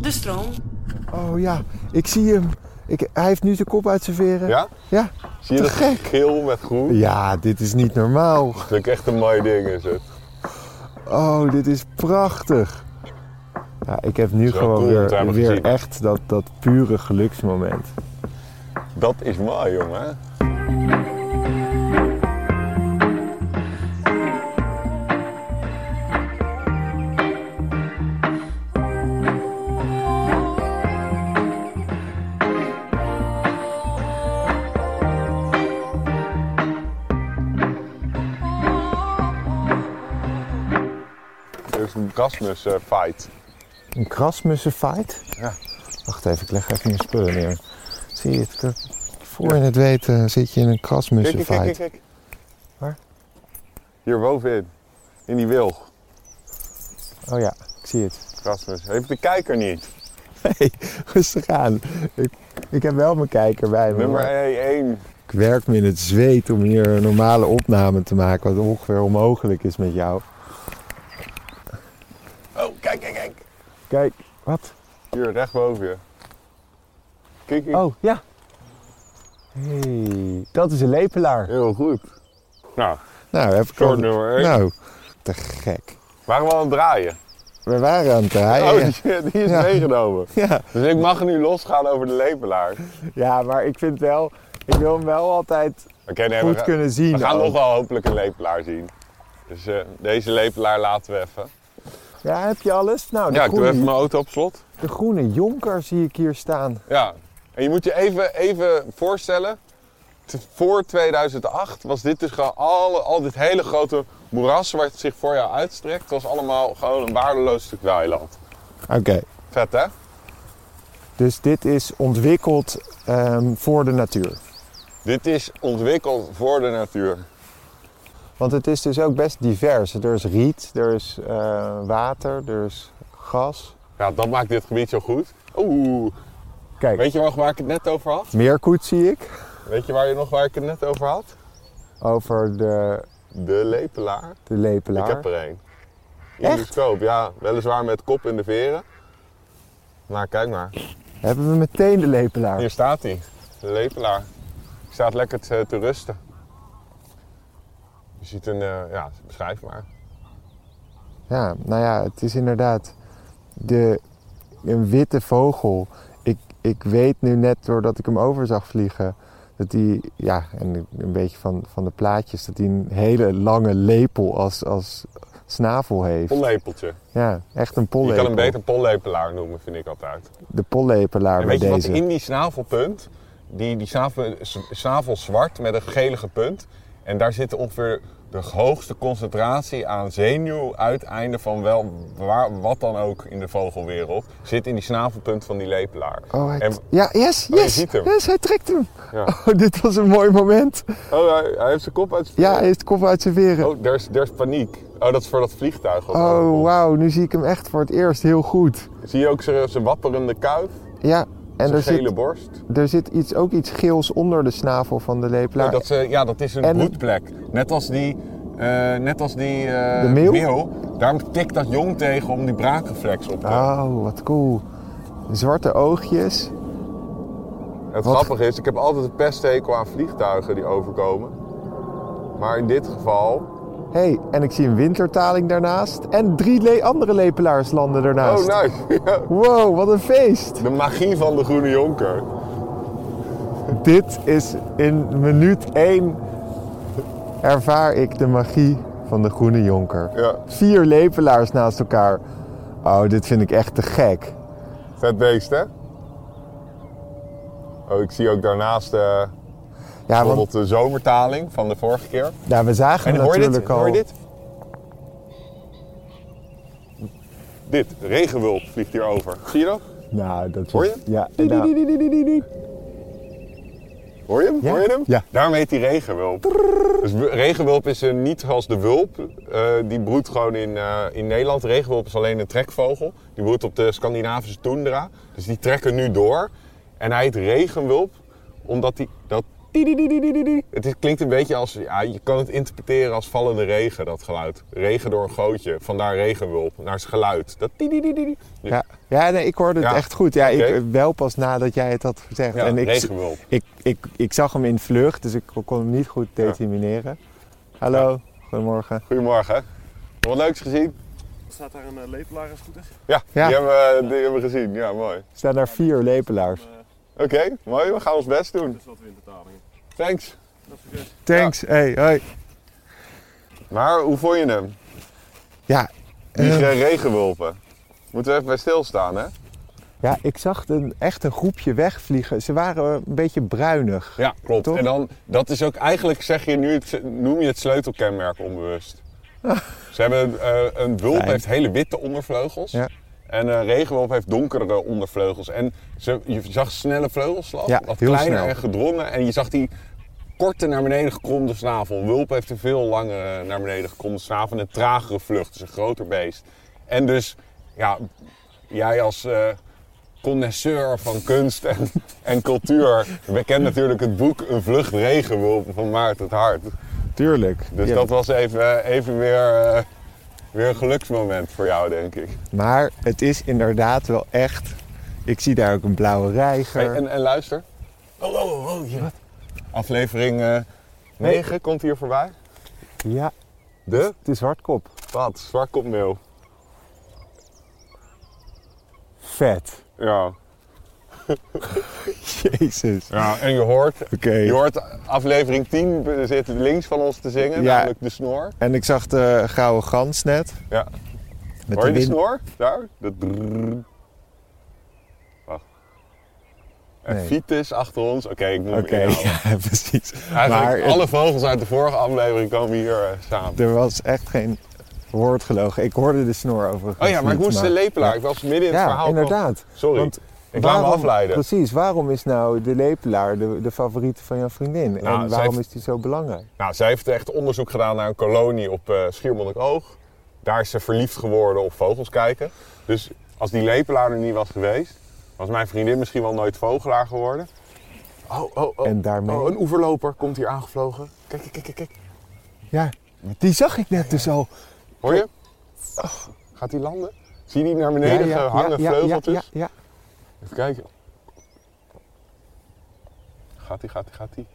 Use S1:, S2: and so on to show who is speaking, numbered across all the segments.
S1: de stroom.
S2: Oh ja, ik zie hem. Ik, hij heeft nu zijn kop uit zijn veren.
S3: Ja?
S2: Ja.
S3: Zie je
S2: Te
S3: dat
S2: gek.
S3: geel met groen?
S2: Ja, dit is niet normaal.
S3: Dat is echt een mooi ding is het.
S2: Oh, dit is prachtig. Ja, ik heb nu
S3: Zo
S2: gewoon
S3: cool om te
S2: weer,
S3: hebben
S2: weer
S3: gezien.
S2: echt dat, dat pure geluksmoment.
S3: Dat is mooi, jongen. Er is een Rasmus eh, fight.
S2: Een krasmussenfight?
S3: Ja.
S2: Wacht even, ik leg even mijn spullen neer. Zie je het? Dat- Voor je het weet eh, zit je in een
S3: Kijk, kijk, kijk,
S2: krasmussenfight.
S3: kijk.
S2: Waar?
S3: Hier bovenin. In die wilg.
S2: Oh ja, ik zie het.
S3: Rasmus. Heeft de kijker niet.
S2: Hey, rustig aan. Ik, ik heb wel mijn kijker bij me.
S3: Nummer
S2: maar
S3: 1.
S2: Ik werk me in het zweet om hier een normale opname te maken, wat ongeveer onmogelijk is met jou.
S3: Oh, kijk, kijk, kijk.
S2: Kijk, wat?
S3: Hier, recht boven je. Kijk, hier.
S2: Oh, ja. hey, dat is een lepelaar.
S3: heel goed. Nou,
S2: Nou, heb ik
S3: Short
S2: al-
S3: nummer één.
S2: Nou, te gek.
S3: waren we al aan het draaien?
S2: We waren aan het
S3: Oh,
S2: draaien.
S3: die, die is
S2: Ja.
S3: meegenomen.
S2: Ja.
S3: Dus ik mag nu losgaan over de lepelaar.
S2: ja, maar ik vind wel... Ik wil hem wel altijd
S3: Oké, nee, we,
S2: goed
S3: gaan-
S2: kunnen zien. Oh.
S3: we gaan
S2: ook.
S3: nog wel hopelijk een lepelaar zien. Dus eh, deze lepelaar laten we even.
S2: Ja, heb je alles? Nou, de,
S3: Ja, ik doe
S2: groene,
S3: even mijn auto op slot.
S2: de groene jonker zie ik hier staan.
S3: Ja, en je moet je even, even voorstellen. t- Voor 2008 was dit dus gewoon alle, al dit hele grote moeras waar het zich voor jou uitstrekt, was allemaal gewoon een waardeloos stuk weiland.
S2: Oké,
S3: Vet hè?
S2: dus dit is ontwikkeld ehm, voor de natuur.
S3: Dit is ontwikkeld voor de natuur.
S2: Want het is dus ook best divers. Er is riet, er is eh, water, er is gas.
S3: Ja, dat maakt dit gebied zo goed. Oeh,
S2: Kijk,
S3: weet je nog waar ik het net over had?
S2: meerkoet zie ik.
S3: Weet je waar je nog waar ik het net over had?
S2: Over de,
S3: De lepelaar.
S2: de
S3: Ik
S2: lepelaar.
S3: heb er een. In de
S2: Echt?
S3: scoop, ja. Weliswaar met kop in de veren. Maar kijk maar.
S2: Hebben we meteen de lepelaar.
S3: Hier staat hij, de lepelaar. Hij staat lekker te, te rusten. Je ziet een, eh, ja, beschrijf maar.
S2: Ja, nou ja, het is inderdaad de, een witte vogel. Ik, ik weet nu net doordat ik hem over zag vliegen, dat die, ja, en een beetje van, van de plaatjes, dat hij een hele lange lepel als, als snavel heeft.
S3: Pollepeltje.
S2: Ja, echt een
S3: Je
S2: pollepel.
S3: kan hem beter pollepelaar noemen, vind ik altijd.
S2: De pollepelaar
S3: En
S2: bij
S3: weet je wat
S2: deze.
S3: in die snavelpunt, die, die snavel, s- snavel zwart met een gelige punt. En daar zit ongeveer de hoogste concentratie aan zenuwuiteinden van wel waar, wat dan ook in de vogelwereld. Zit in die snavelpunt van die lepelaar.
S2: Oh, hij...
S3: En-
S2: Ja, yes,
S3: Oh, je
S2: yes,
S3: ziet hem.
S2: yes, hij trekt hem.
S3: Ja.
S2: Oh, dit was een mooi moment.
S3: oh hij, hij heeft zijn kop uit zijn
S2: Ja, hij heeft kop uit zijn veren.
S3: Oh, daar is, daar is paniek. Oh, dat is voor dat vliegtuig. wat
S2: Oh,
S3: aankomt.
S2: wauw, nu zie ik hem echt voor het eerst heel goed.
S3: Zie je ook zijn zijn wapperende kuif?
S2: Ja, en
S3: zijn
S2: er
S3: gele
S2: zit,
S3: borst?
S2: Er zit iets, ook iets geels onder de snavel van de lepelaar.
S3: Oh, dat, ze, ja, dat is een
S2: Nou, En-
S3: broedplek. Net als die, eh, net als die eh,
S2: De meeuw?
S3: Daar tikt dat jong tegen om die braakreflex op te
S2: Oh, wat cool. Zwarte oogjes.
S3: Het
S2: Wat-
S3: grappige is, ik heb altijd een pesthekel aan vliegtuigen die overkomen. Maar in dit geval...
S2: hey, en ik zie een wintertaling daarnaast. En drie le- andere lepelaars landen daarnaast.
S3: Oh, nice. Ja.
S2: Wow, wat een feest.
S3: De magie van de groene jonker.
S2: Dit is in minuut 1 ervaar ik de magie van de groene jonker.
S3: Ja.
S2: Vier lepelaars naast elkaar. Oh, dit vind ik echt te gek.
S3: Vet beest, hè? Oh, ik zie ook daarnaast eh,
S2: Ja, want
S3: bijvoorbeeld de zomertaling van de vorige keer.
S2: ja, we zagen
S3: En
S2: hem
S3: hoor je
S2: natuurlijk
S3: dit?
S2: al.
S3: Hoor je dit? Dit, regenwulp vliegt hier over. Zie je dat?
S2: Nou, dat is-
S3: Hoor je?
S2: Ja, nou,
S3: Hoor je hem?
S2: Ja.
S3: Hoor je hem?
S2: Ja.
S3: Daarom heet hij regenwulp. Dus w- regenwulp is eh, niet als de wulp. eh, die broedt gewoon in, eh, in Nederland. Regenwulp is alleen een trekvogel. Die broedt op de Scandinavische tundra. Dus die trekken nu door. En hij heet regenwulp omdat hij... Dat, die, die, die, die, die, die, die. Het is- klinkt een beetje als... Ja, je kan het interpreteren als vallende regen, dat geluid. Regen door een gootje. Vandaar regenwulp. Naar het geluid. Dat die, die, die, die, die.
S2: Ja, ja nee, ik hoorde het
S3: Ja.
S2: echt goed. Ja,
S3: Oké.
S2: ik, wel pas nadat jij het had gezegd.
S3: Ja,
S2: en ik,
S3: regenwulp.
S2: Ik, ik, ik zag hem in vlucht, dus ik kon hem niet goed determineren. Hallo, goedemorgen.
S3: Goedemorgen. Nog wat leuks gezien?
S1: Staat daar een eh, lepelaar als het goed is?
S3: Ja,
S2: Ja.
S3: Die, hebben we, die hebben we gezien. Ja, mooi.
S2: Er staan daar vier lepelaars.
S3: Oké, mooi. We gaan ons best doen.
S1: Dat is wat wintertalingen.
S3: Thanks.
S1: Dat is succes.
S2: Thanks, hey, hoi.
S3: Maar hoe vond je hem?
S2: Ja,
S3: Die
S2: Eh.
S3: regenwulpen. Moeten we even bij stilstaan, hè?
S2: ja, ik zag een, echt een groepje wegvliegen. Ze waren een beetje bruinig.
S3: Ja, klopt.
S2: Toch?
S3: En dan, dat is ook eigenlijk, zeg je nu, het, noem je het sleutelkenmerk onbewust. Ze hebben, eh, een wulp
S2: Fijn.
S3: heeft hele witte ondervleugels.
S2: Ja.
S3: En een regenwulp heeft donkere ondervleugels. En ze, je zag snelle vleugelslag,
S2: Ja,
S3: wat
S2: heel
S3: kleiner
S2: snel.
S3: en gedrongen. En je zag die korte naar beneden gekromde snavel. Een wulp heeft een veel langere naar beneden gekromde snavel. En een tragere vlucht, dus een groter beest. En dus, ja, jij als... eh, connoisseur van kunst en, en cultuur. We kennen natuurlijk het boek Een Vlucht Regenwulpen van Maarten het Hart.
S2: Tuurlijk.
S3: Dus
S2: Ja.
S3: dat was even, even weer, eh, weer een geluksmoment voor jou, denk ik.
S2: Maar het is inderdaad wel echt... Ik zie daar ook een blauwe
S3: Hey,
S2: reiger.
S3: en, en luister. Oh, oh, oh, hier. Aflevering eh 9 komt hier voorbij.
S2: Ja,
S3: De?
S2: het is hardkop.
S3: Wat? Zwartkopmeeuw.
S2: Vet.
S3: Ja.
S2: Jezus.
S3: ja, en je hoort,
S2: Oké.
S3: je hoort aflevering 10 zit links van ons te zingen,
S2: Ja.
S3: namelijk de snor.
S2: En ik zag de gouden gans net.
S3: Ja.
S2: Met
S3: Hoor je
S2: de
S3: die
S2: wind-
S3: snor? Daar? Dat drrrr. Wacht. En
S2: Nee.
S3: Vitus achter ons. Oké, ik moet
S2: Oké,
S3: hem inhouden.
S2: ja, precies. Maar
S3: Eigenlijk
S2: het-
S3: alle vogels uit de vorige aflevering komen hier eh, samen.
S2: er was echt geen woord gelogen. Ik hoorde de snor overigens
S3: Oh ja, maar ik
S2: niet,
S3: moest de lepelaar. Ik was midden in het
S2: Ja,
S3: verhaal.
S2: inderdaad.
S3: Sorry,
S2: Want
S3: ik laat me
S2: Waarom-
S3: afleiden.
S2: Precies, waarom is nou de lepelaar de, de favoriete van jouw vriendin?
S3: Nou,
S2: en
S3: zij
S2: waarom
S3: heeft-
S2: is die zo belangrijk?
S3: Nou, zij heeft echt onderzoek gedaan naar een kolonie op eh Schiermonnikoog. Daar is ze verliefd geworden op vogels kijken. Dus als die lepelaar er niet was geweest, was mijn vriendin misschien wel nooit vogelaar geworden. Oh, oh, oh.
S2: En daarmee-
S3: Oh, een oeverloper komt hier aangevlogen. Kijk, kijk, kijk, kijk, kijk.
S2: Ja, die zag ik net dus al.
S3: Hoor je? Gaat die landen? Zie je die naar beneden
S2: Oh. ja,
S3: hangen vleugeltjes?
S2: ja, ja.
S3: Even kijken. Gaat die, gaat die, gaat die.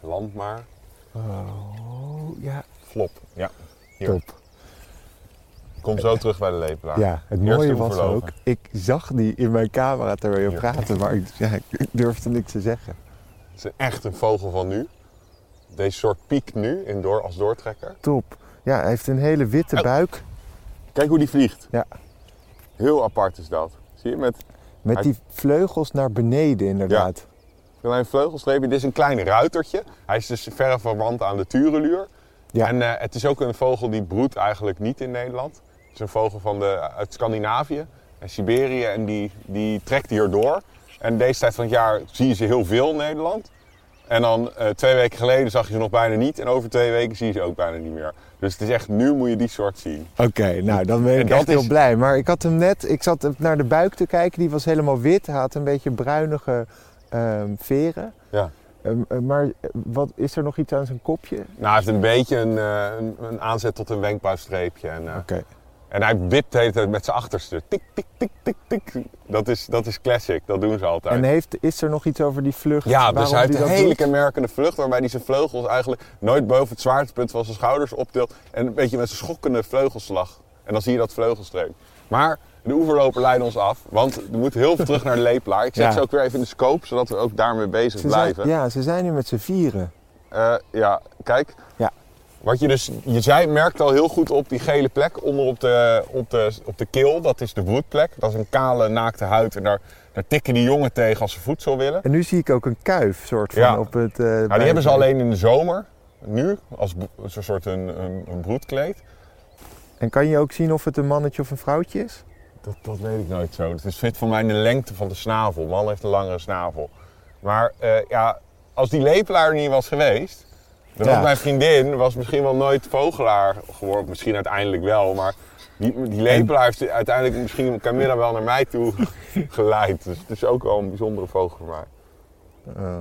S3: Land maar.
S2: Oh, ja,
S3: Flop. Ja. Hier.
S2: top.
S3: Kom zo terug bij de lepelaar.
S2: Ja, het
S3: Eerst
S2: mooie
S3: de
S2: was
S3: oeverloper.
S2: ook, ik zag die in mijn camera terwijl je
S3: Ja.
S2: praatte, maar ik, ja, ik durfde niks te zeggen.
S3: Het is echt een vogel van nu. Deze soort piekt nu in door, als doortrekker.
S2: Top. Ja, hij heeft een hele witte
S3: Oh.
S2: buik.
S3: Kijk hoe die vliegt.
S2: Ja,
S3: Heel apart is dat. Zie je, met
S2: met
S3: Hij-
S2: die vleugels naar beneden inderdaad.
S3: een vleugelstreepje. Dit is een klein ruitertje. Hij is dus verre verwant aan de tureluur.
S2: Ja.
S3: En eh, het is ook een vogel die broedt eigenlijk niet in Nederland. Het is een vogel van de, uit Scandinavië en Siberië en die, die trekt hier door. En deze tijd van het jaar zie je ze heel veel in Nederland. En dan eh, twee weken geleden zag je ze nog bijna niet. En over twee weken zie je ze ook bijna niet meer. Dus het is echt, nu moet je die soort zien.
S2: Oké, nou dan ben
S3: En
S2: ik
S3: dat
S2: echt heel
S3: is-
S2: blij. Maar ik had hem net, ik zat naar de buik te kijken, die was helemaal wit. Hij had een beetje bruinige ehm, veren.
S3: Ja.
S2: Ehm, eh, maar wat, is er nog iets aan zijn kopje? Oké.
S3: Nou, hij heeft een beetje een, eh, een, een aanzet tot een wenkbrauwstreepje. En, eh, en hij wipt de hele tijd met zijn achterste. Tik, tik, tik, tik, tik. Dat is, dat is classic, dat doen ze altijd.
S2: En heeft, is er nog iets over die vlucht?
S3: ja, dus
S2: waarom
S3: hij heeft
S2: die
S3: een
S2: dat
S3: hele
S2: doet?
S3: kenmerkende vlucht waarbij hij zijn vleugels eigenlijk nooit boven het zwaartepunt van zijn schouders optilt. En een beetje met een schokkende vleugelslag. En dan zie je dat vleugelstreep. Maar de oeverloper leidde ons af, want we moeten heel veel terug naar de lepelaar. Ik zet
S2: Ja.
S3: ze ook weer even in de scope, zodat we ook daarmee bezig
S2: Ze zijn,
S3: blijven.
S2: ja, ze zijn nu met z'n vieren.
S3: Eh, ja, kijk.
S2: Ja.
S3: Wat je dus, je zei, merkt al heel goed op die gele plek onder op de, op de, op de keel. Dat is de broedplek. Dat is een kale, naakte huid. En daar, daar tikken die jongen tegen als ze voedsel willen.
S2: En nu zie ik ook een kuif, soort van,
S3: Ja.
S2: op het... eh,
S3: Nou,
S2: bij-
S3: die hebben ze alleen in de zomer. Nu, als bo- als een soort een, een, een broedkleed.
S2: En kan je ook zien of het een mannetje of een vrouwtje is?
S3: Dat, dat weet ik nooit zo. Het is fit voor mij in de lengte van de snavel. Man heeft een langere snavel. Maar eh, ja, als die lepelaar er niet was geweest, dan
S2: Ja.
S3: had mijn vriendin was misschien wel nooit vogelaar geworden. Misschien uiteindelijk wel, maar die, die lepelaar heeft uiteindelijk misschien Camilla wel naar mij toe geleid. Dus het is ook wel een bijzondere vogel voor mij.
S2: Eh,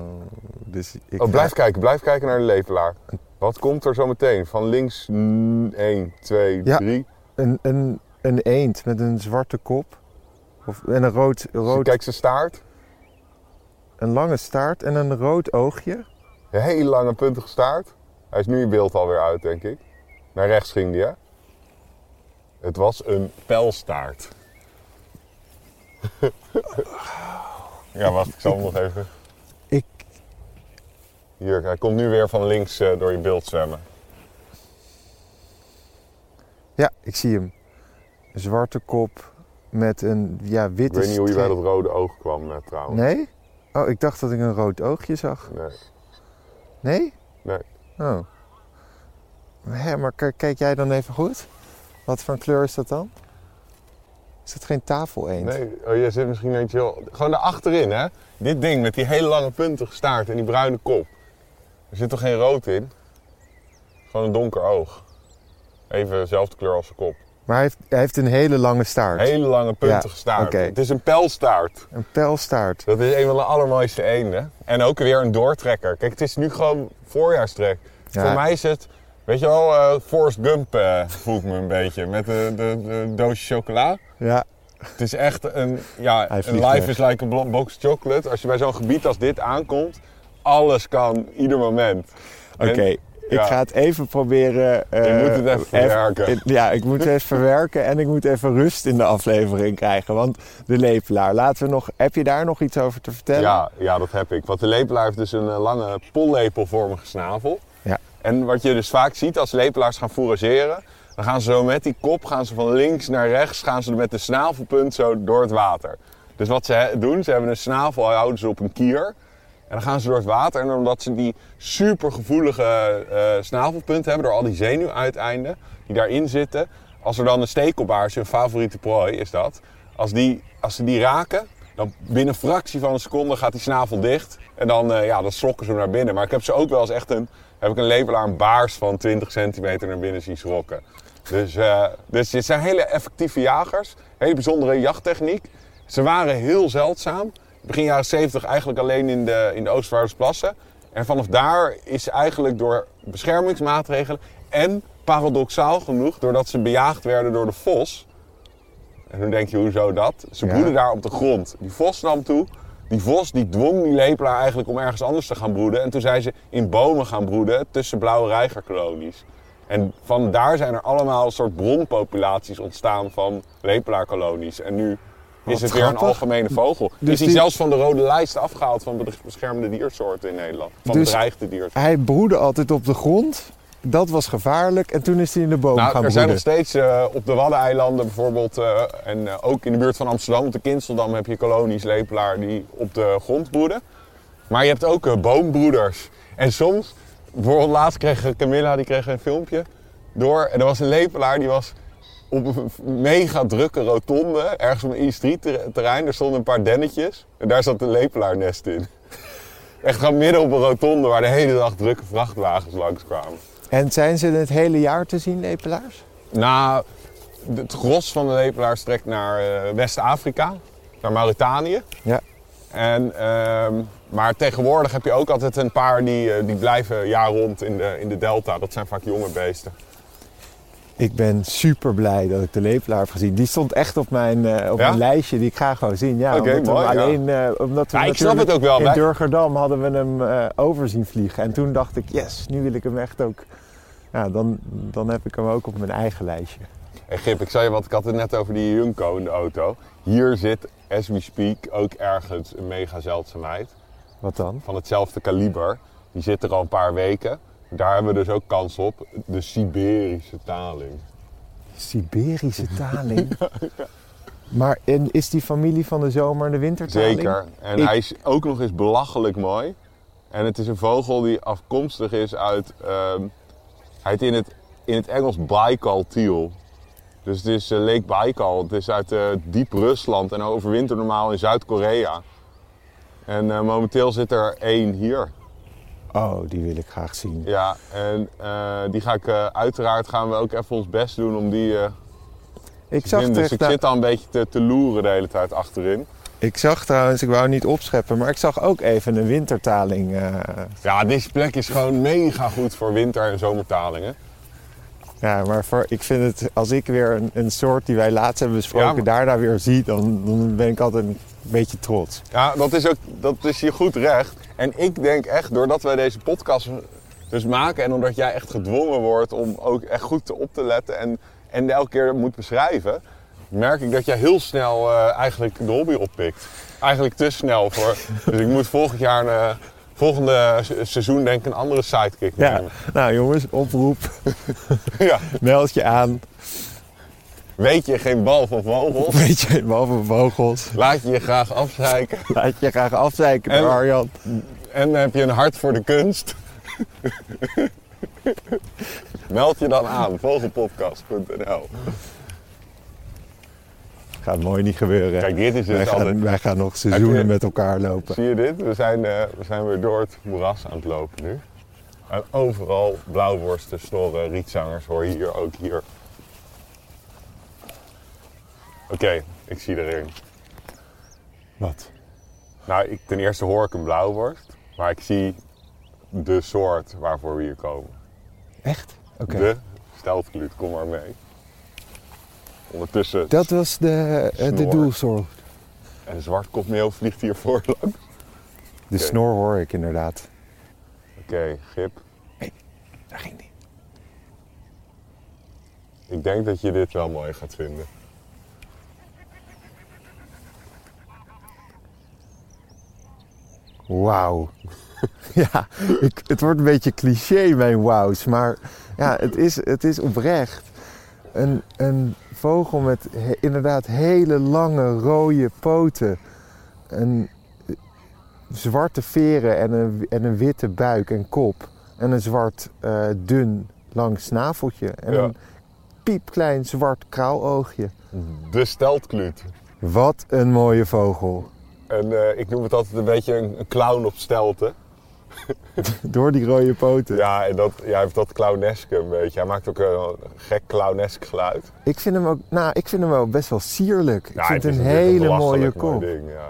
S2: dus ik
S3: Oh,
S2: ga-
S3: blijf kijken, blijf kijken naar de lepelaar. Wat komt er zo meteen? Van links 1, 2,
S2: Ja.
S3: 3.
S2: Een, een, een eend met een zwarte kop. Of, en een rood, rood
S3: Kijk zijn staart.
S2: een lange staart en een rood oogje.
S3: Een hele lange puntige staart. Hij is nu in beeld alweer uit, denk ik. Naar rechts ging die, hè? Het was een pijlstaart. ja, wacht, ik zal hem nog even.
S2: Ik,
S3: Hier, hij komt nu weer van links eh, door je beeld zwemmen.
S2: ja, ik zie hem. Een zwarte kop met een ja,
S3: Ik
S2: witte
S3: weet niet hoe je bij
S2: streep.
S3: dat rode oog kwam, eh, trouwens.
S2: Nee? Oh, ik dacht dat ik een rood oogje zag.
S3: Nee.
S2: Nee?
S3: Nee.
S2: Oh. Hé, maar k- kijk jij dan even goed? Wat voor een kleur is dat dan? Is dat geen tafeleend?
S3: Nee, oh, jij zit misschien eentje heel... Gewoon daar achterin, hè? Dit ding met die hele lange puntige staart en die bruine kop. Er zit toch geen rood in? Gewoon een donker oog. Even dezelfde kleur als zijn kop.
S2: Maar hij heeft, hij heeft een hele lange staart.
S3: Hele lange puntige
S2: Ja,
S3: staart.
S2: oké.
S3: Het is een pijlstaart.
S2: Een pijlstaart.
S3: Dat is een van de allermooiste eenden. En ook weer een doortrekker. Kijk, het is nu gewoon voorjaarstrek.
S2: Ja.
S3: Voor mij is het, weet je wel, eh Forrest Gump eh, voel ik me een beetje. Met de, de, de doosje chocola.
S2: Ja.
S3: Het is echt een, ja,
S2: Hij
S3: een
S2: vliegt
S3: life
S2: weg.
S3: is like a blo- box chocolate. Als je bij zo'n gebied als dit aankomt, alles kan, ieder moment.
S2: Oké,
S3: En-
S2: ik
S3: ja.
S2: ga het even proberen. eh,
S3: Je moet het even verwerken.
S2: eh, ja, ik moet het even verwerken en ik moet even rust in de aflevering krijgen. Want de lepelaar, laten we nog. Heb je daar nog iets over te vertellen?
S3: Ja, ja, dat heb ik. Want de lepelaar heeft dus een eh, lange pollepelvormige snavel.
S2: Ja.
S3: En wat je dus vaak ziet als lepelaars gaan fourageren, dan gaan ze zo met die kop gaan ze van links naar rechts, gaan ze met de snavelpunt zo door het water. Dus wat ze he- doen, ze hebben een snavel, houden ze op een kier. En dan gaan ze door het water. En omdat ze die supergevoelige eh snavelpunt hebben, door al die zenuwuiteinden die daarin zitten. Als er dan een stekelbaars, hun favoriete prooi is dat. Als, die, als ze die raken, dan binnen een fractie van een seconde gaat die snavel dicht. En dan, eh, ja, dan slokken ze hem naar binnen. Maar ik heb ze ook wel eens echt een, heb ik een lepelaar, een baars van 20 centimeter naar binnen zien schrokken. Dus, eh, dus dit zijn hele effectieve jagers. Hele bijzondere jachttechniek. Ze waren heel zeldzaam. Begin jaren 70 eigenlijk alleen in de, in de Oostvaardersplassen. En vanaf daar is eigenlijk door beschermingsmaatregelen en paradoxaal genoeg, doordat ze bejaagd werden door de vos. En dan denk je, hoezo dat? Ze
S2: Ja.
S3: broeden daar op de grond. Die vos nam toe. Die vos die dwong die lepelaar eigenlijk om ergens anders te gaan broeden. En toen zijn ze in bomen gaan broeden tussen blauwe reigerkolonies. En van daar zijn er allemaal een soort bronpopulaties ontstaan van lepelaarkolonies. En nu is het weer een
S2: grappig.
S3: algemene vogel.
S2: Dus
S3: is hij
S2: die-
S3: zelfs van de rode lijst afgehaald van bedre- beschermde diersoorten in Nederland. Van
S2: Dus-
S3: bedreigde diersoorten.
S2: Hij broedde altijd op de grond. Dat was gevaarlijk. En toen is hij in de boom
S3: Nou, er
S2: gaan
S3: zijn
S2: broeden.
S3: nog steeds eh, op de Waddeneilanden bijvoorbeeld eh, en eh, ook in de buurt van Amsterdam, op de Kinseldam heb je kolonies lepelaar die op de grond broeden. Maar je hebt ook eh, boombroeders. En soms, bijvoorbeeld laatst kreeg eh, Camilla die kreeg een filmpje door en er was een lepelaar die was op een mega drukke rotonde, ergens op een industrieterrein, er stonden een paar dennetjes en daar zat een lepelaarnest in. Echt gewoon midden op een rotonde waar de hele dag drukke vrachtwagens langskwamen.
S2: En zijn ze het hele jaar te zien, lepelaars?
S3: Nou, het gros van de lepelaars trekt naar eh, West-Afrika, naar Mauritanië.
S2: Ja.
S3: En, ehm, maar tegenwoordig heb je ook altijd een paar die, eh, die blijven jaar rond in de, in de delta. Dat zijn vaak jonge beesten.
S2: Ik ben super blij dat ik de lepelaar heb gezien. Die stond echt op mijn, eh, op
S3: Ja?
S2: mijn lijstje die ik graag wou zien. Ja,
S3: Oké,
S2: omdat we
S3: mooi,
S2: hem
S3: ja.
S2: alleen, eh, omdat we
S3: Ja, ik snap
S2: natuurlijk
S3: het ook wel.
S2: In
S3: Wij-
S2: Durgerdam hadden we hem eh over zien vliegen. En toen dacht ik, yes, nu wil ik hem echt ook. Ja, dan, dan heb ik hem ook op mijn eigen lijstje.
S3: Hey Gip, ik zei je wat, ik had het net over die Junko in de auto. Hier zit, as we speak, ook ergens een mega zeldzaamheid.
S2: Wat dan?
S3: van hetzelfde kaliber. Die zit er al een paar weken. Daar hebben we dus ook kans op. De Siberische taling.
S2: Siberische taling. Maar en is die familie van de zomer en de wintertaling?
S3: Zeker. En
S2: Ik-
S3: hij is ook nog eens belachelijk mooi. En het is een vogel die afkomstig is uit. ehm, hij heet in het, in het Engels Baikal teal. Dus het is eh, Lake Baikal. Het is uit eh, diep Rusland en overwintert normaal in Zuid-Korea. En eh, momenteel zit er één hier.
S2: Oh, die wil ik graag zien.
S3: Ja, en eh, die ga ik eh, uiteraard gaan we ook even ons best doen om die eh,
S2: Ik zag
S3: in. Dus
S2: terug
S3: ik
S2: naar-
S3: zit al een beetje te, te loeren de hele tijd achterin.
S2: Ik zag trouwens, ik wou niet opscheppen, maar ik zag ook even een wintertaling. eh,
S3: Ja, deze plek is gewoon mega goed voor winter- en zomertalingen.
S2: ja, maar voor, ik vind het, als ik weer een, een soort die wij laatst hebben besproken,
S3: Ja, maar-
S2: daar, daar weer zie, dan, dan ben ik altijd een beetje trots.
S3: Ja, dat is, ook, dat is je goed recht. En ik denk echt, doordat wij deze podcast dus maken en omdat jij echt gedwongen wordt om ook echt goed te op te letten en, en elke keer moet beschrijven, merk ik dat jij heel snel eh, eigenlijk de hobby oppikt. Eigenlijk te snel voor. Dus ik moet volgend jaar, een, eh, volgende se- seizoen denk ik een andere sidekick
S2: Ja,
S3: nemen.
S2: nou jongens, oproep,
S3: Ja.
S2: meld je aan,
S3: Weet je geen bal van vogels?
S2: weet je, boven vogels.
S3: Laat je je graag afzeiken.
S2: Laat je graag afzeiken door
S3: En-
S2: Arjan.
S3: En heb je een hart voor de kunst? Meld je dan aan, vogelpodcast.nl.
S2: Gaat mooi niet gebeuren.
S3: Kijk, dit is
S2: wij,
S3: dus
S2: gaan,
S3: altijd...
S2: wij gaan nog seizoenen
S3: je-
S2: met elkaar lopen.
S3: Zie je dit? We zijn, eh, we zijn weer door het moeras aan het lopen nu. En overal blauwworsten, snorren, rietzangers hoor je hier, ook hier. Oké, ik zie erin.
S2: Wat?
S3: Nou, ik, ten eerste hoor ik een blauwworst, maar ik zie de soort waarvoor we hier komen.
S2: Echt? Oké.
S3: De steltkluut, kom maar mee. Ondertussen,
S2: Dat was de, eh, de
S3: Snor.
S2: doelsoort.
S3: een zwartkopmeel vliegt hier voorlangs. Oké,
S2: De
S3: Oké.
S2: snor hoor ik inderdaad.
S3: Gip,
S2: Daar ging die.
S3: ik denk dat je dit wel mooi gaat vinden.
S2: Wauw. ja, ik, het wordt een beetje cliché, mijn wauws. Maar ja, het is, het is oprecht. Een, een vogel met he- inderdaad hele lange rode poten. Een eh, zwarte veren en een, en een witte buik en kop. En een zwart eh, dun lang snaveltje. En
S3: Ja.
S2: een piepklein zwart krauwoogje.
S3: De steltkluut.
S2: Wat een mooie vogel.
S3: En eh, ik noem het altijd een beetje een, een clown op stelten.
S2: Door die rode poten.
S3: Ja, en dat, ja, hij heeft dat clowneske een beetje. Hij maakt ook een gek clownesk geluid.
S2: Ik vind hem ook, nou, ik vind hem wel best wel sierlijk. Ik
S3: Ja,
S2: vind
S3: het
S2: het
S3: is
S2: een
S3: natuurlijk
S2: hele mooie
S3: belachelijk
S2: kop.
S3: mooi ding, ja.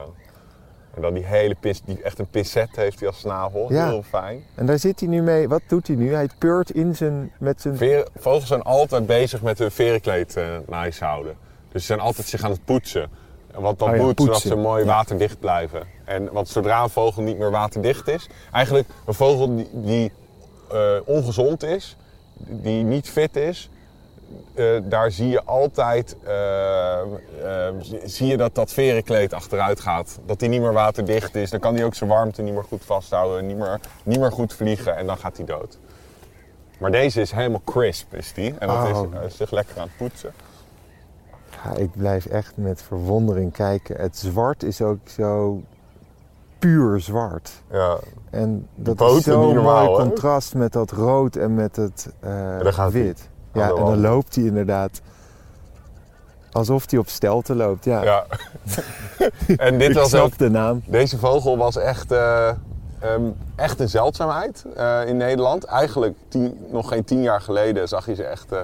S3: En dan die hele pis, die, echt een pincet heeft hij als snavel.
S2: Ja.
S3: Heel fijn.
S2: en daar zit hij nu mee. Wat doet hij nu? Hij peurt in zijn, met zijn.
S3: Veren- vogels zijn altijd bezig met hun verenkleed eh nice houden. Dus ze zijn altijd zich aan het poetsen. Want dat
S2: Oh ja,
S3: moet, zodat
S2: poetsen.
S3: ze mooi waterdicht blijven. En, want zodra een vogel niet meer waterdicht is... Eigenlijk een vogel die, die, eh, ongezond is, die niet fit is... eh, daar zie je altijd eh, eh, zie je dat dat verenkleed achteruit gaat. Dat die niet meer waterdicht is. Dan kan hij ook zijn warmte niet meer goed vasthouden. Niet meer, niet meer goed vliegen. En dan gaat hij dood. Maar deze is helemaal crisp, is die. En dat
S2: Oh.
S3: is, hij is zich lekker aan het poetsen.
S2: Ja, ik blijf echt met verwondering kijken. Het zwart is ook zo puur zwart.
S3: Ja.
S2: En dat
S3: poten
S2: is zo'n
S3: niet normaal,
S2: mooi
S3: hè?
S2: contrast met dat rood en met het eh,
S3: En daar gaat hij.
S2: wit. Ja,
S3: Hallo,
S2: en dan
S3: hallo.
S2: loopt hij inderdaad alsof hij op stelte loopt. Ja,
S3: ja. en dit
S2: ik
S3: was ook,
S2: snap de naam.
S3: deze vogel was echt, eh, ehm, echt een zeldzaamheid eh, in Nederland. Eigenlijk tien- nog geen tien jaar geleden zag je ze echt... eh,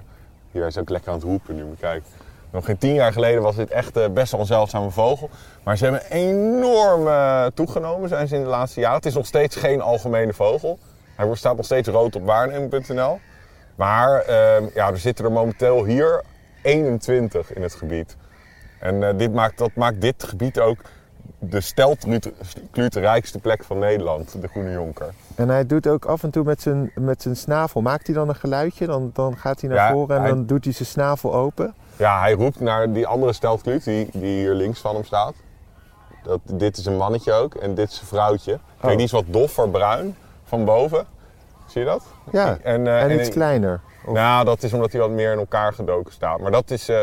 S3: hier, hij is ook lekker aan het roepen nu, maar kijk. Nog geen tien jaar geleden was dit echt eh, best wel een zeldzame vogel. Maar ze hebben enorm eh, toegenomen zijn ze in de laatste jaren. Het is nog steeds geen algemene vogel. Hij wordt- staat nog steeds rood op waarneming.nl. Maar ehm, ja, er zitten er momenteel hier 21 in het gebied. En eh, dit maakt, dat maakt dit gebied ook de steltkluut rijkste plek van Nederland, de Groene Jonker.
S2: En hij doet ook af en toe met zijn, met zijn snavel. Maakt hij dan een geluidje? Dan, dan gaat hij naar
S3: Ja,
S2: voren en
S3: hij-
S2: dan doet hij zijn snavel open.
S3: Ja, hij roept naar die andere steltkluut die, die hier links van hem staat. Dat, dit is een mannetje ook en dit is een vrouwtje. Kijk,
S2: Oh.
S3: die is wat doffer bruin van boven. Zie je dat?
S2: Ja,
S3: En, eh,
S2: en,
S3: en
S2: iets
S3: in-
S2: kleiner. Of-
S3: Nou, dat is omdat hij wat meer in elkaar gedoken staat. Maar dat is, eh,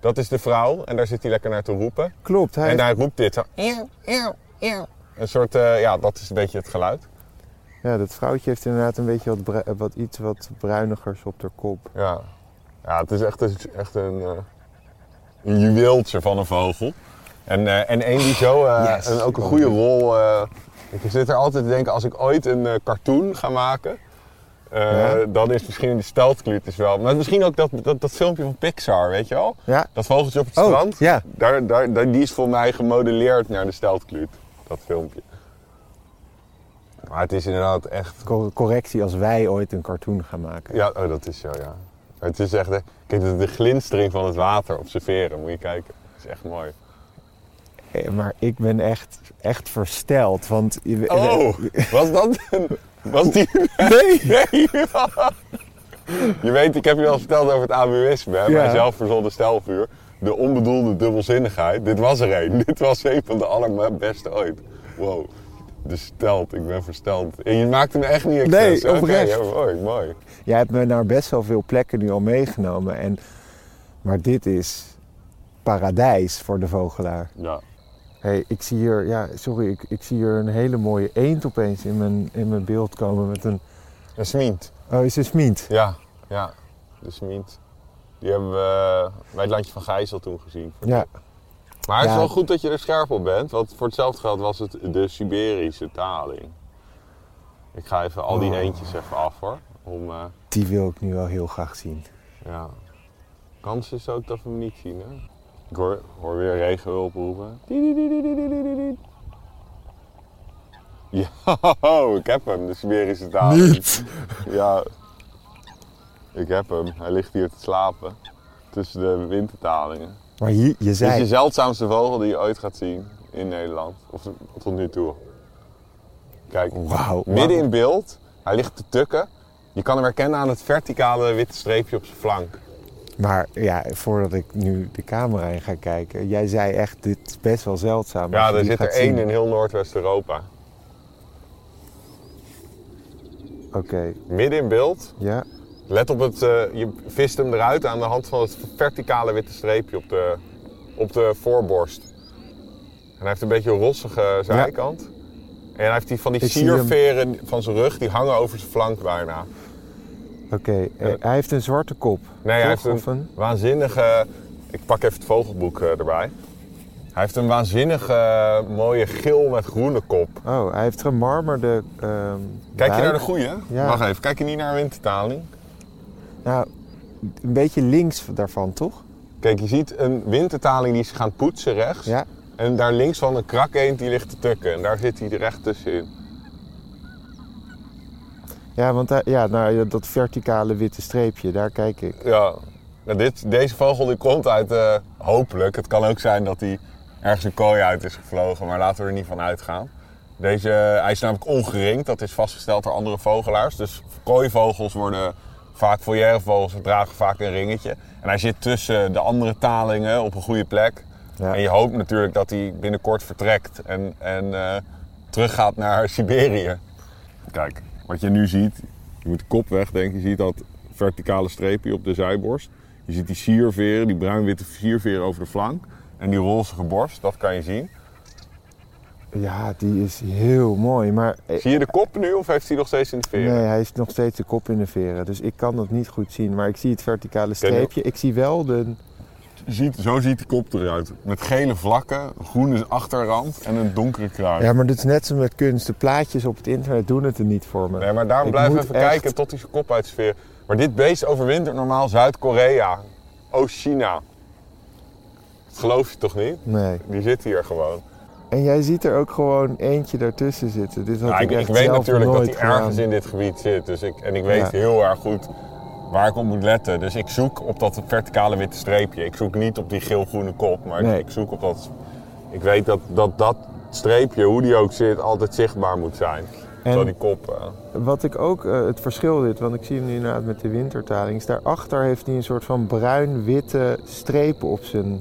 S3: dat is de vrouw en daar zit hij lekker naar te roepen.
S2: Klopt, hij
S3: En
S2: heeft-
S3: hij roept dit. zo, "Eeuw, eeuw, eeuw." Een soort, eh, ja, dat is een beetje het geluid.
S2: ja, dat vrouwtje heeft inderdaad een beetje wat, bru- eh, wat iets wat bruinigers op haar kop.
S3: Ja, ja het is echt, het is echt een, eh, een juweeltje van een vogel. En, eh, en één die zo eh,
S2: Yes.
S3: een, ook een goede rol. eh, ik zit er altijd te denken, als ik ooit een eh, cartoon ga maken, eh, Eh,
S2: Ja.
S3: Dan is misschien de steltkluut is wel. Maar misschien ook dat, dat, dat filmpje van Pixar, weet je wel?
S2: Ja.
S3: Dat vogeltje op het
S2: Oh,
S3: strand.
S2: ja.
S3: Daar, daar, daar- die is voor mij gemodelleerd naar de steltkluut. Dat filmpje. Maar het is inderdaad echt
S2: Co- correctie als wij ooit een cartoon gaan maken.
S3: Ja, oh, dat is zo, ja. Maar het is echt, hè, kijk, de, de glinstering van het water op zijn veren, moet je kijken. Dat is echt mooi.
S2: Eh, Maar ik ben echt, echt versteld. Want je-
S3: Oh, was dat een... Was die...
S2: Nee.
S3: Nee. Je weet, ik heb je al verteld over het abuïsme, hè, mijn
S2: Ja.
S3: zelfverzonnen stelvuur. De onbedoelde dubbelzinnigheid. Dit was er een. Dit was een van de allerbeste ooit. Wow. De stelt, ik ben versteld. En je maakte me echt niet expres.
S2: Nee,
S3: Oké,
S2: oprecht.
S3: ja, mooi, mooi.
S2: Jij hebt me naar best wel veel plekken nu al meegenomen. En, maar dit is paradijs voor de vogelaar.
S3: Ja.
S2: Hey, ik zie hier, ja, sorry, ik, ik zie hier een hele mooie eend opeens in mijn, in mijn beeld komen met een...
S3: Een smint.
S2: Oh, is een smiet.
S3: Ja, ja. De Smint. Die hebben we bij het landje van Gijzel toen gezien.
S2: Ja,
S3: Maar het is
S2: Ja.
S3: wel goed dat je er scherp op bent, want voor hetzelfde geld was het de Siberische taling. Ik ga even al die
S2: Oh.
S3: eentjes even af hoor. Om, eh,
S2: die wil ik nu wel heel graag zien.
S3: ja. Kans is ook dat we hem niet zien hè. Ik hoor, hoor weer regenhulp roepen. Tiedidididididididid. Ja, ik heb hem, de Siberische taling. Ja, ik heb hem. Hij ligt hier te slapen. Tussen de wintertalingen.
S2: Maar hier, je
S3: Dit is de
S2: zei...
S3: zeldzaamste vogel die je ooit gaat zien in Nederland. Of tot nu toe. Kijk,
S2: Wauw.
S3: midden in beeld. Hij ligt te tukken. Je kan hem herkennen aan het verticale witte streepje op zijn flank.
S2: Maar ja, voordat ik nu de camera in ga kijken... Jij zei echt, dit is best wel zeldzaam. als
S3: Ja,
S2: je
S3: er
S2: die
S3: zit er
S2: gaat
S3: één
S2: zien.
S3: in heel Noordwest-Europa.
S2: Oké,
S3: Midden in beeld.
S2: ja.
S3: Let op het, eh, je vist hem eruit aan de hand van het verticale witte streepje op de, op de voorborst. En hij heeft een beetje een rossige zijkant. En hij heeft die, van die
S2: Ik zie hem.
S3: sierveren van zijn rug, die hangen over zijn flank bijna.
S2: Oké, eh, hij heeft een zwarte kop.
S3: Nee, hij
S2: toch?
S3: heeft een,
S2: Of een...
S3: waanzinnige... Ik pak even het vogelboek eh, erbij. Hij heeft een waanzinnige mooie geel met groene kop.
S2: Oh, hij heeft gemarmerde... ehm,
S3: Kijk je
S2: buik.
S3: naar de goeie?
S2: Ja.
S3: Wacht even, kijk je niet naar wintertaling?
S2: Nou, een beetje links daarvan, toch?
S3: Kijk, je ziet een wintertaling die is gaan poetsen rechts.
S2: Ja.
S3: En daar links van een krak eend die ligt te tukken. En daar zit hij er recht tussenin.
S2: Ja, want hij- ja, nou, dat verticale witte streepje, daar kijk ik.
S3: Ja. Nou, dit, deze vogel die komt uit, eh, hopelijk, het kan ook zijn dat hij ergens een kooi uit is gevlogen, maar laten we er niet van uitgaan. Deze, hij is namelijk ongeringd, dat is vastgesteld door andere vogelaars. Dus kooivogels worden vaak foyervogels, ze dragen vaak een ringetje. En hij zit tussen de andere talingen op een goede plek.
S2: Ja.
S3: En je hoopt natuurlijk dat hij binnenkort vertrekt en, en eh, teruggaat naar Siberië. Kijk, wat je nu ziet, je moet de kop wegdenken. Je ziet dat verticale streepje op de zijborst. Je ziet die sierveren, die bruin-witte sierveren over de flank. En die rozige borst, dat kan je zien.
S2: Ja, die is heel mooi, maar... eh,
S3: Zie je de kop nu of heeft hij nog steeds in de veren?
S2: Nee, hij is nog steeds de kop in de veren, dus ik kan dat niet goed zien. Maar ik zie het verticale
S3: je-
S2: streepje, ik zie wel de...
S3: Je ziet, zo ziet die kop eruit. Met gele vlakken, groene achterrand en een donkere kruin.
S2: Ja, maar dat is net zo met kunst. De plaatjes op het internet doen het er niet voor me.
S3: Nee, maar daarom
S2: Ik
S3: blijf
S2: moet
S3: even
S2: echt-
S3: kijken tot hij zijn kop uit sfeer. Maar dit beest overwintert normaal Zuid-Korea. Oost-China. Dat geloof je toch niet?
S2: Nee.
S3: Die zit hier gewoon.
S2: En jij ziet er ook gewoon eentje daartussen zitten. Dit had
S3: Ja,
S2: ik,
S3: ik, ik
S2: echt
S3: weet
S2: zelf
S3: natuurlijk dat
S2: nooit
S3: hij ergens
S2: gedaan.
S3: in dit gebied zit. Dus ik, en ik weet
S2: Ja.
S3: heel erg goed waar ik op moet letten. Dus ik zoek op dat verticale witte streepje. Ik zoek niet op die geel-groene kop, maar ik-
S2: Nee.
S3: ik zoek op dat... Ik weet dat dat, dat streepje, hoe die ook zit, altijd zichtbaar moet zijn. Terwijl die kop... eh,
S2: Wat ik ook eh, het verschil dit, want ik zie hem nu inderdaad met de wintertaling, is daarachter heeft hij een soort van bruin-witte strepen op zijn,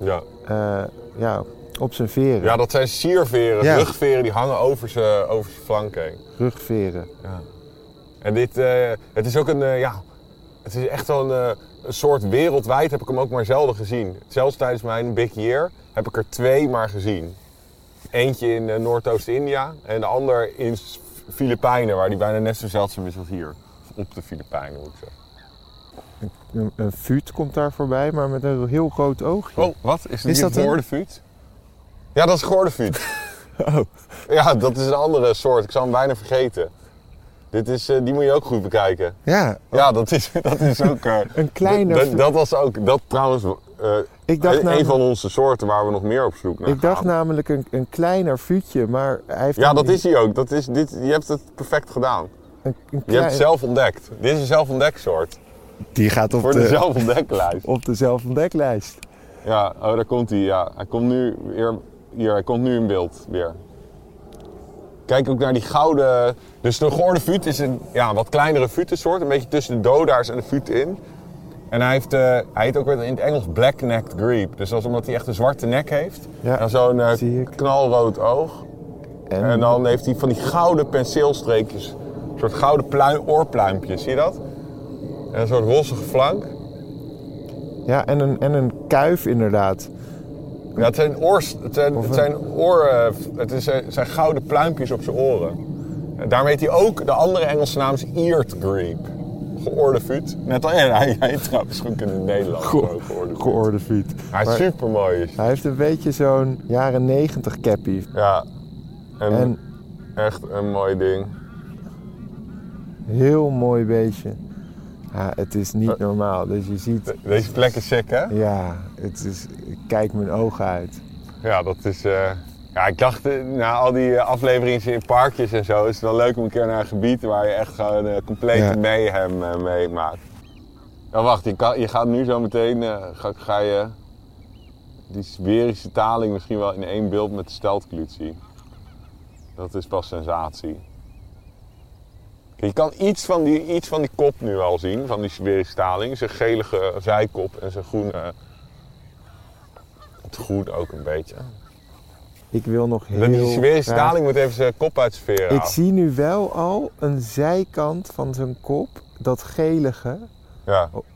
S3: ja.
S2: eh, ja, op zijn veren,
S3: ja, dat zijn sierveren,
S2: Ja.
S3: rugveren, die hangen over zijn over zijn flank heen.
S2: rugveren.
S3: En dit, eh, het is ook een, eh, ja, het is echt zo'n eh, een soort wereldwijd heb ik hem ook maar zelden gezien. Zelfs tijdens mijn Big Year heb ik er twee maar gezien. Eentje in eh, Noordoost-India en de ander in S- Filipijnen, waar die bijna net zo zeldzaam is als hier. Of op de Filipijnen moet ik zeggen.
S2: Een, een vuut komt daar voorbij, maar met een heel groot oogje.
S3: Oh, wat? Is,
S2: Is
S3: dit
S2: dat
S3: een
S2: een-
S3: goordefuut? Ja, dat is goordefuut.
S2: Oh.
S3: Ja, dat is een andere soort. Ik zou hem bijna vergeten. Dit is, eh, die moet je ook goed bekijken.
S2: Ja,
S3: Ja, dat is, dat is ook... eh,
S2: een kleine...
S3: dat, dat was ook... Dat trouwens... eh,
S2: ik dacht,
S3: een
S2: namelijk-
S3: van onze soorten waar we nog meer op zoek naar
S2: ik dacht
S3: gaan.
S2: namelijk een, een kleiner vuutje, maar hij heeft...
S3: Ja,
S2: een-
S3: dat is hij ook. Dat is, dit, je hebt het perfect gedaan.
S2: Een, een
S3: Je hebt het
S2: klein-
S3: zelf ontdekt. Dit is een zelfontdeksoort.
S2: Die gaat op
S3: Voor de
S2: de,
S3: zelfontdeklijst.
S2: op de zelfontdeklijst.
S3: Ja, oh, daar komt hij. Ja. Hij komt nu weer. Hier, hij komt nu in beeld weer. Kijk ook naar die gouden. Dus de goorde vuut is een ja, wat kleinere vutensoort. Een beetje tussen de dodaars en de vuut in. En hij, heeft, eh, hij heet ook weer in het Engels black-necked grebe. Dus dat is omdat hij echt een zwarte nek heeft.
S2: Ja,
S3: en zo'n eh,
S2: zie ik.
S3: knalrood oog.
S2: En,
S3: En dan heeft hij van die gouden penseelstreekjes. Een soort gouden pluim, oorpluimpjes, zie je dat? En een soort rossige flank.
S2: ja, en, een, en een kuif inderdaad.
S3: Ja, het zijn oors, het zijn,
S2: Of
S3: het
S2: een-
S3: zijn oren, het is, het zijn gouden pluimpjes op zijn oren. En daarmee heet hij ook, de andere Engelse naam is eared grape. Geoorde vuut. Net al, ja, hij hij heet trouwens ook in het Nederlands. ook geoorde vuut.
S2: Geoorde vuut.
S3: Hij is
S2: Maar
S3: super mooi.
S2: hij heeft een beetje zo'n jaren negentig cappie.
S3: Ja. En,
S2: En
S3: echt een mooi ding.
S2: heel mooi beestje. Ja, het is
S3: Eh.
S2: niet normaal. Dus je ziet,
S3: De- Deze plek is sick, hè?
S2: ja, het is, ik kijk mijn ogen uit.
S3: Ja, dat is. eh, Ja, ik dacht, eh, na al die eh, afleveringen in parkjes en zo, is het wel leuk om een keer naar een gebied waar je echt gewoon eh, een complete
S2: Ja.
S3: mayhem eh, meemaakt. Nou, wacht, je, kan, je gaat nu zo meteen, eh, ga, ga je die Siberische taling misschien wel in één beeld met de steltkluut zien. Dat is pas sensatie. Kijk, Je kan iets van, die, iets van die kop nu al zien, van die Siberische taling. Zijn gelige zijkop en zijn groene... Het groen ook een beetje.
S2: Ik wil nog
S3: Dan die
S2: heel
S3: Siberische
S2: graag-
S3: daling moet even zijn kop uit zijn veren
S2: Ik
S3: halen.
S2: zie nu wel al een zijkant van zijn kop, dat gelige.
S3: Ja.
S2: Oké,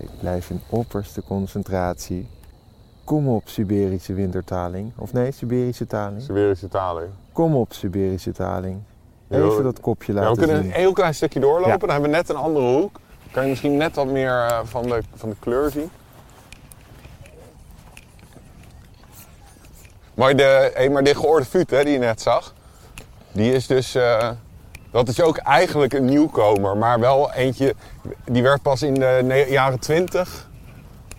S2: ik blijf in opperste concentratie. Kom op, Siberische wintertaling. Of nee, Siberische taling.
S3: Siberische taling.
S2: Kom op, Siberische taling.
S3: Yo.
S2: Even dat kopje
S3: Ja, we
S2: laten
S3: kunnen een
S2: zien.
S3: heel klein stukje doorlopen.
S2: Ja.
S3: Dan hebben we net een andere hoek. Dan kan je misschien net wat meer eh, van, de, van de kleur zien. Maar, de, hé, maar die geoorde vuut hè, die je net zag, die is dus... eh, dat is ook eigenlijk een nieuwkomer, maar wel eentje... Die werd pas in de ne- jaren 20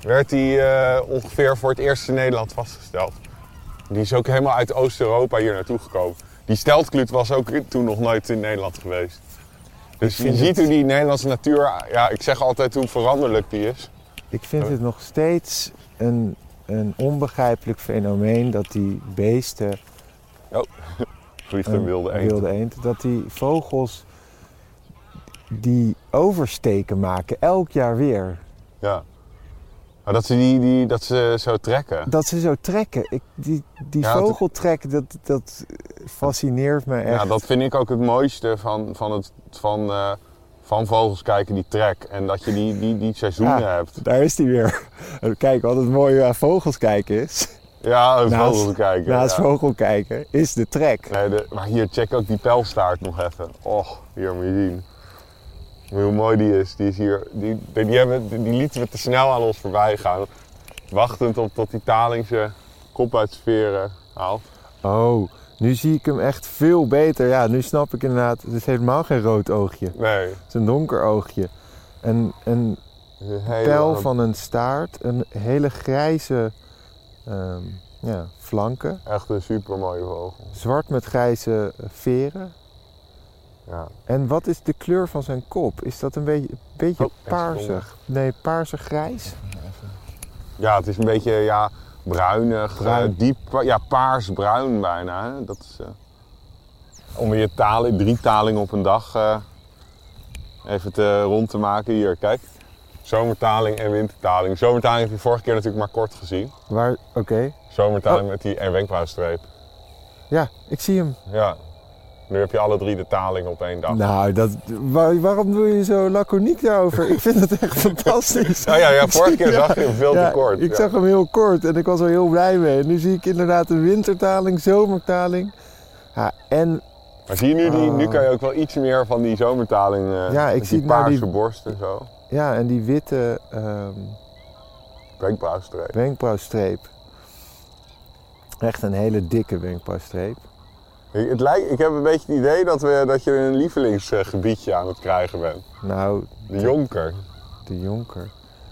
S3: werd die eh, ongeveer voor het eerst in Nederland vastgesteld. Die is ook helemaal uit Oost-Europa hier naartoe gekomen. Die steltkluut was ook toen nog nooit in Nederland geweest. Dus je
S2: vind
S3: ziet
S2: het-
S3: hoe die Nederlandse natuur, ja, ik zeg altijd hoe veranderlijk die is.
S2: Ik vind het nog steeds een, een onbegrijpelijk fenomeen dat die beesten,
S3: Vliegt een wilde eend.
S2: wilde eend, dat die vogels die oversteken maken, elk jaar weer.
S3: Ja. Maar dat ze, die, die, dat ze zo trekken.
S2: Dat ze zo trekken. Ik, die die
S3: Ja, dat-
S2: vogeltrek, dat, dat fascineert me echt.
S3: Ja, dat vind ik ook het mooiste van, van, het, van, eh, van vogels kijken die trek. En dat je die, die, die seizoenen
S2: Ja.
S3: hebt.
S2: Daar is hij weer. Kijk, wat het mooie aan vogels kijken is,
S3: Ja, een
S2: Naast-
S3: vogels kijken.
S2: naast
S3: ja.
S2: nou, vogel kijken, is de trek.
S3: Nee, de- maar hier, check ook die pijlstaart nog even. Och, hier moet je zien. Moet je Hoe mooi die is. Die, is hier, die, die, die hebben, die, die lieten we te snel aan ons voorbij gaan. Wachtend op tot die taling zijn kop uit sferen haalt.
S2: Oh, nu zie ik hem echt veel beter. Ja, nu snap ik inderdaad, het is helemaal geen rood oogje.
S3: Nee.
S2: Het is een donker oogje. Een, een
S3: Een hele
S2: pijl
S3: lange-
S2: van een staart, een hele grijze ehm, ja, flanken.
S3: Echt een supermooie vogel.
S2: Zwart met grijze veren.
S3: Ja.
S2: En wat is de kleur van zijn kop? Is dat een beetje, een beetje
S3: Oh, en
S2: paarsig? Nee, paarsig-grijs?
S3: Ja, het is een beetje ja, bruinig,
S2: Bruin.
S3: eh, diep, ja, paarsbruin bijna. hè. Dat is, eh, om weer talen, drie talingen op een dag eh, even te, rond te maken. Hier, kijk. Zomertaling en wintertaling. Zomertaling heb je vorige keer natuurlijk maar kort gezien.
S2: Waar, oké.
S3: Zomertaling
S2: Oh.
S3: met die en wenkbrauwstreep.
S2: Ja, ik zie hem.
S3: Ja. Nu heb je alle drie de talingen op één dag.
S2: Nou, dat, waar- waarom doe je zo laconiek daarover? Ik vind het echt fantastisch.
S3: Nou ja, ja,
S2: Ik
S3: vorige
S2: zie-
S3: keer zag je hem veel te kort.
S2: Ik
S3: ja.
S2: zag hem heel kort en ik was er heel blij mee. En nu zie ik inderdaad een wintertaling, zomertaling. Ja, en
S3: Maar zie je nu, die, nu
S2: Ah.
S3: kan je ook wel iets meer van die zomertaling. eh,
S2: Ja, ik
S3: met
S2: zie
S3: die
S2: het nou,
S3: paarse
S2: die-
S3: borst en zo.
S2: Ja, en die witte ehm,
S3: Wenkbrauwstreep.
S2: wenkbrauwstreep. Echt een hele dikke wenkbrauwstreep.
S3: Ik, het lijkt, ik heb een beetje het idee dat, we, dat je een lievelingsgebiedje aan het krijgen bent.
S2: Nou,
S3: De jonker.
S2: de jonker.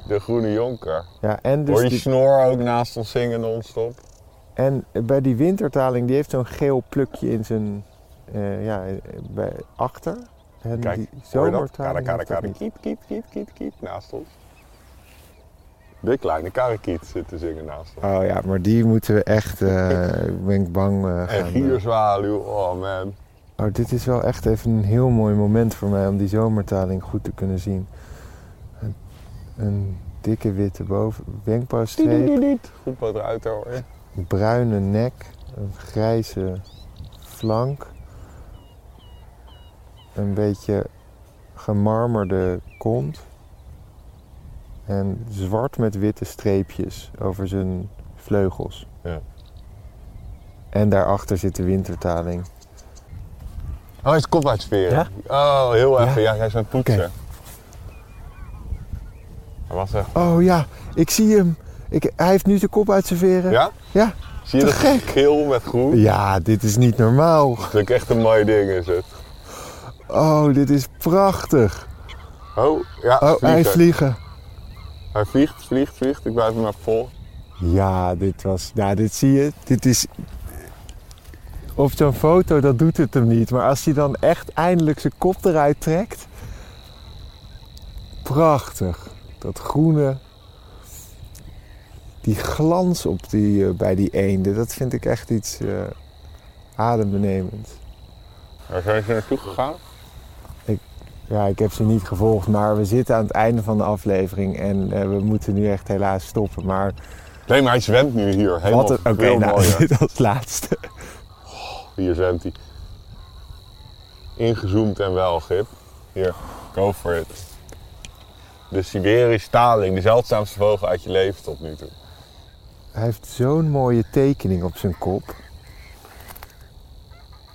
S3: De groene jonker.
S2: Ja, en, dus
S3: Hoor je
S2: die-
S3: snor ook naast ons zingen non-stop?
S2: en bij die wintertaling, die heeft zo'n geel plukje in zijn... eh, ja, eh, bij, achter. En
S3: Kijk,
S2: die
S3: hoor je dat?
S2: zomertaling
S3: Kara, kara,
S2: heeft dat
S3: kara,
S2: niet.
S3: kiet, kiet, kiet, kiet, kiet, naast ons. De kleine karakiet zit te zingen naast ons.
S2: Oh ja, maar die moeten we echt... eh, ik ben ik bang eh, gaan...
S3: En gierzwaluw, oh man.
S2: Oh, dit is wel echt even een heel mooi moment voor mij om die zomertaling goed te kunnen zien. Een, een dikke witte boven, wenkbrauwstreep,
S3: Tiedididid. Goed wat eruit hoor.
S2: een bruine nek, een grijze flank, een beetje gemarmerde kont en zwart met witte streepjes over zijn vleugels.
S3: Ja.
S2: En daarachter zit de wintertaling.
S3: Oh, hij is kop uit veren. Oh, heel even. Ja, hij is aan het poetsen.
S2: Oké.
S3: Hij was echt...
S2: Oh ja, ik zie hem. Ik, hij heeft nu zijn kop uit zijn veren.
S3: Ja?
S2: Ja.
S3: Zie je
S2: Te
S3: dat
S2: gek.
S3: geel met groen?
S2: Ja, dit is niet normaal.
S3: Dat is ook echt een mooi ding is het.
S2: Oh, dit is prachtig.
S3: Oh, ja,
S2: Oh, hij
S3: vlieger.
S2: vliegen.
S3: Hij vliegt, vliegt, vliegt. Ik blijf hem maar vol.
S2: Ja, dit was... Nou, dit zie je. Dit is... Op zo'n foto, dat doet het hem niet. Maar als hij dan echt eindelijk zijn kop eruit trekt... Prachtig. Dat groene... Die glans op die, eh, bij die eenden, dat vind ik echt iets eh adembenemends.
S3: Waar zijn ze naartoe gegaan?
S2: Ja, ik heb ze niet gevolgd, maar we zitten aan het einde van de aflevering en eh, we moeten nu echt helaas stoppen. Maar
S3: Nee, maar hij zwemt nu hier. Helemaal
S2: wat een. Oké,
S3: veel
S2: nou,
S3: mooier.
S2: dit als laatste.
S3: Hier zwemt hij. Ingezoomd en wel, Gip. Hier, go for it. De Siberische taling, de zeldzaamste vogel uit je leven tot nu toe.
S2: Hij heeft zo'n mooie tekening op zijn kop.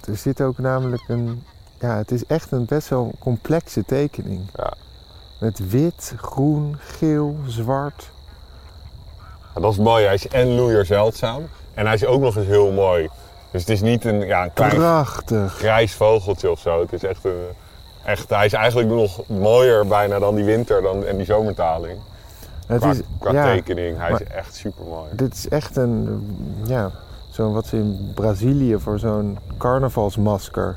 S2: Er zit ook namelijk een. Ja, het is echt een best wel complexe tekening.
S3: Ja.
S2: Met wit, groen, geel, zwart.
S3: Ja, dat is mooi. Hij is en loeier zeldzaam. En hij is ook nog eens heel mooi. Dus het is niet een, ja, een klein
S2: Prachtig.
S3: grijs vogeltje of zo. Het is echt een... Echt, hij is eigenlijk nog mooier bijna dan die winter dan, en die zomertaling.
S2: Het
S3: Qua,
S2: is,
S3: qua
S2: ja,
S3: tekening. Hij is
S2: maar-
S3: echt super mooi.
S2: Dit is echt een, ja, zo'n wat ze in Brazilië voor zo'n carnavalsmasker.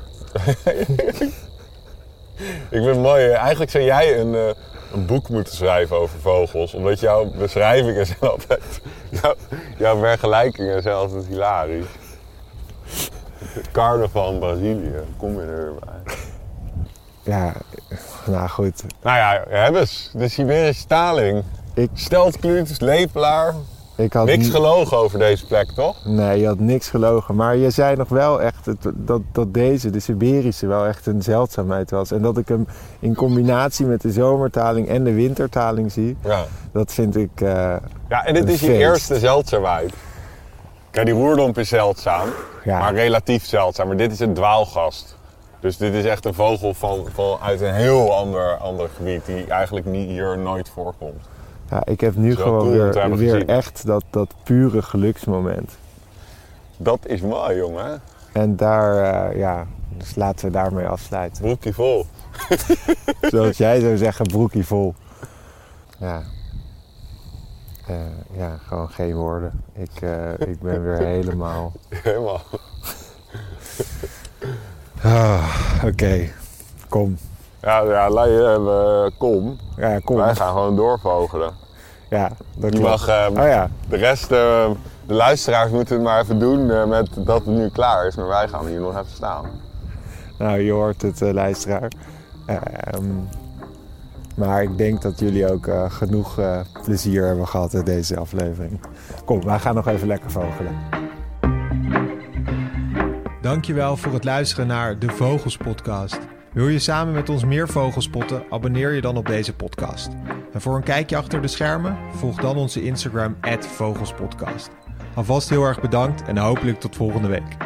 S3: Ik vind het mooi. hè. Eigenlijk zou jij een, eh, een boek moeten schrijven over vogels. Omdat jouw beschrijvingen zijn altijd... Jouw, jouw vergelijkingen zijn altijd hilarisch. Het carnaval in Brazilië. Kom je erbij.
S2: Ja, nou goed.
S3: Nou ja, hebben ze. De Siberische staling.
S2: Ik-
S3: Stelt Kluut, lepelaar.
S2: Ik had
S3: Niks
S2: ni-
S3: gelogen over deze plek, toch?
S2: Nee, je had niks gelogen. Maar je zei nog wel echt het- dat, dat deze, de Siberische, wel echt een zeldzaamheid was. En dat ik hem in combinatie met de zomertaling en de wintertaling zie,
S3: Ja.
S2: dat vind ik. eh,
S3: Ja, en dit
S2: Een
S3: is je
S2: feest.
S3: eerste zeldzaamheid. Kijk, die roerdomp is zeldzaam,
S2: Ja.
S3: maar relatief zeldzaam. Maar dit is een dwaalgast. Dus dit is echt een vogel van, van uit een heel ander, ander gebied, die eigenlijk niet, hier nooit voorkomt.
S2: ja, ik heb nu
S3: wel
S2: gewoon
S3: cool om te
S2: weer,
S3: hebben
S2: weer
S3: gezien.
S2: echt dat, dat pure geluksmoment.
S3: Dat is mooi, jongen.
S2: En daar, eh, ja, dus laten we daarmee afsluiten.
S3: Broekje vol.
S2: Zoals jij zou zeggen, broekie vol. Ja. Eh, ja, gewoon geen woorden. Ik, eh, ik ben weer helemaal.
S3: Helemaal.
S2: Ah, Oké, kom.
S3: Ja, ja laat je hem, eh, kom.
S2: Ja, kom.
S3: Wij gaan gewoon doorvogelen.
S2: Ja, dat
S3: Je
S2: klopt.
S3: mag, eh,
S2: Oh ja,
S3: de rest, eh, de luisteraars moeten het maar even doen eh, met dat het nu klaar is. Maar wij gaan hier nog even staan.
S2: nou je hoort het, eh, luisteraar. Ehm, maar ik denk dat jullie ook eh, genoeg eh, plezier hebben gehad in deze aflevering. Kom, wij gaan nog even lekker vogelen.
S4: Dankjewel voor het luisteren naar de Vogels Podcast. Wil je samen met ons meer vogels spotten? Abonneer je dan op deze podcast. En voor een kijkje achter de schermen, volg dan onze Instagram @vogelspodcast. Alvast heel erg bedankt en hopelijk tot volgende week.